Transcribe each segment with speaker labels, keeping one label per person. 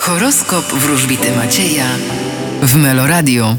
Speaker 1: Horoskop wróżbity Macieja w Meloradio.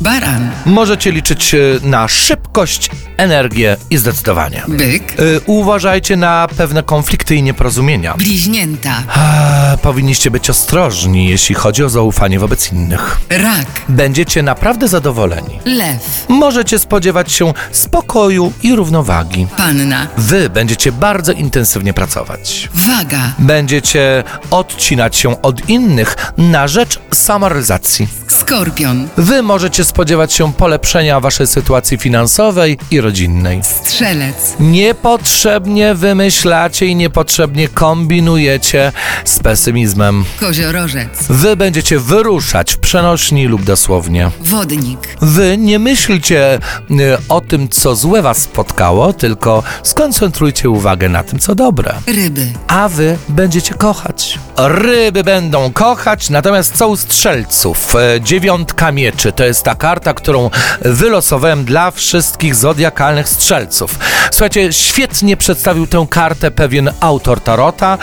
Speaker 1: Baran,
Speaker 2: Możecie liczyć e, na szybkość, energię i zdecydowanie.
Speaker 1: byk,
Speaker 2: E, Uważajcie na pewne konflikty i nieporozumienia.
Speaker 1: bliźnięta,
Speaker 2: A, powinniście być ostrożni, jeśli chodzi o zaufanie wobec innych.
Speaker 1: rak,
Speaker 2: Będziecie naprawdę zadowoleni.
Speaker 1: lew,
Speaker 2: Możecie spodziewać się spokoju i równowagi.
Speaker 1: panna,
Speaker 2: Wy będziecie bardzo intensywnie pracować.
Speaker 1: waga,
Speaker 2: Będziecie odcinać się od innych na rzecz samorealizacji.
Speaker 1: skorpion,
Speaker 2: Wy możecie spodziewać się polepszenia waszej sytuacji finansowej i rodzinnej.
Speaker 1: strzelec,
Speaker 2: Niepotrzebnie wymyślacie i niepotrzebnie kombinujecie z pesymizmem.
Speaker 1: koziorożec,
Speaker 2: Wy będziecie wyruszać w przenośni lub dosłownie.
Speaker 1: wodnik,
Speaker 2: Wy nie myślcie y, o tym, co złe was spotkało, tylko skoncentrujcie uwagę na tym, co dobre.
Speaker 1: ryby,
Speaker 2: A wy będziecie kochać. Ryby będą kochać, natomiast co u strzelców? E, Dziewiątka mieczy to jest ta karta, którą wylosowałem dla wszystkich zodiakalnych strzelców. Słuchajcie, świetnie przedstawił tę kartę pewien autor Tarota.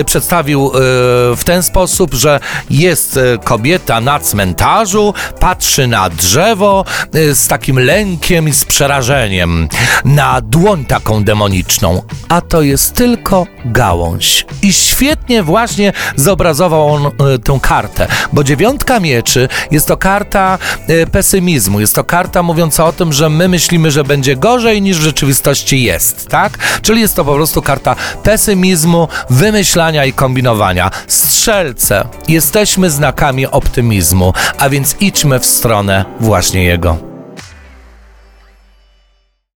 Speaker 2: E, Przedstawił e, w ten sposób, że jest e, kobieta na cmentarzu, patrzy na drzewo e, z takim lękiem i z przerażeniem, na dłoń taką demoniczną, a to jest tylko gałąź. I świetnie właśnie zobrazował on e, tę kartę, bo dziewiątka mieczy jest to karta e, pesymizmu, jest to karta mówiąca o tym, że my myślimy, że będzie gorzej niż w rzeczywistości jest, tak? Czyli jest to po prostu karta pesymizmu, wymyślania i kombinowania. Strzelce, jesteśmy znakami optymizmu, a więc idźmy w stronę właśnie jego.